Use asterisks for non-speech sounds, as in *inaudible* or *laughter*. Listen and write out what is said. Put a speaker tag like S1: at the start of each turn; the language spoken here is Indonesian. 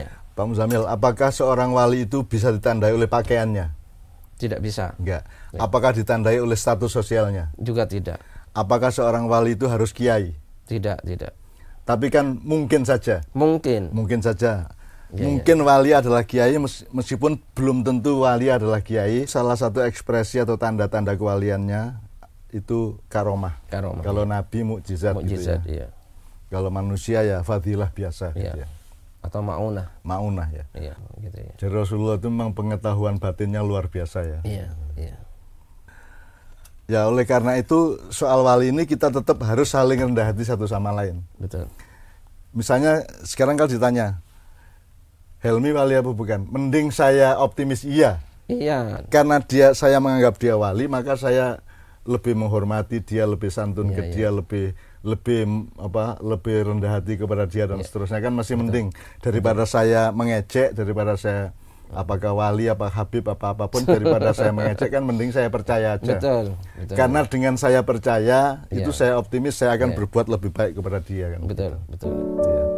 S1: Ya. Pak Muzamil, apakah seorang wali itu bisa ditandai oleh pakaiannya?
S2: Tidak bisa.
S1: Enggak. Apakah ditandai oleh status sosialnya?
S2: Juga tidak.
S1: Apakah seorang wali itu harus kiai?
S2: Tidak, tidak.
S1: Tapi kan mungkin saja,
S2: Mungkin.
S1: mungkin saja.
S2: Iya,
S1: mungkin wali adalah kiai mes- meskipun belum tentu wali adalah kiai. Salah satu ekspresi atau tanda-tanda kewaliannya itu karomah.
S2: Karomah.
S1: Kalau nabi mukjizat, gitu ya.
S2: Mukjizat, iya.
S1: Kalau manusia ya fadilah biasa
S2: Iya.
S1: gitu ya.
S2: Atau maunah.
S1: Maunah ya.
S2: Iya, gitu ya.
S1: Jadi Rasulullah itu memang pengetahuan batinnya luar biasa ya.
S2: Iya, iya.
S1: Ya oleh karena itu soal wali ini kita tetap harus saling rendah hati satu sama lain.
S2: Betul.
S1: Misalnya sekarang kalau ditanya, Helmi wali apa bukan? Mending saya optimis iya.
S2: Iya,
S1: Karena dia saya menganggap dia wali, maka saya lebih menghormati dia, lebih santun ke
S2: Iya,
S1: dia, lebih lebih apa lebih rendah hati kepada dia
S2: Iya.
S1: dan seterusnya kan masih mending daripada saya mengejek daripada saya apakah wali apa habib apa
S2: *laughs*
S1: apapun daripada saya mengejek kan mending saya percaya aja
S2: betul. betul.
S1: karena dengan saya percaya itu
S2: Iya.
S1: saya optimis saya akan berbuat lebih baik kepada dia kan
S2: betul, betul.
S1: Iya.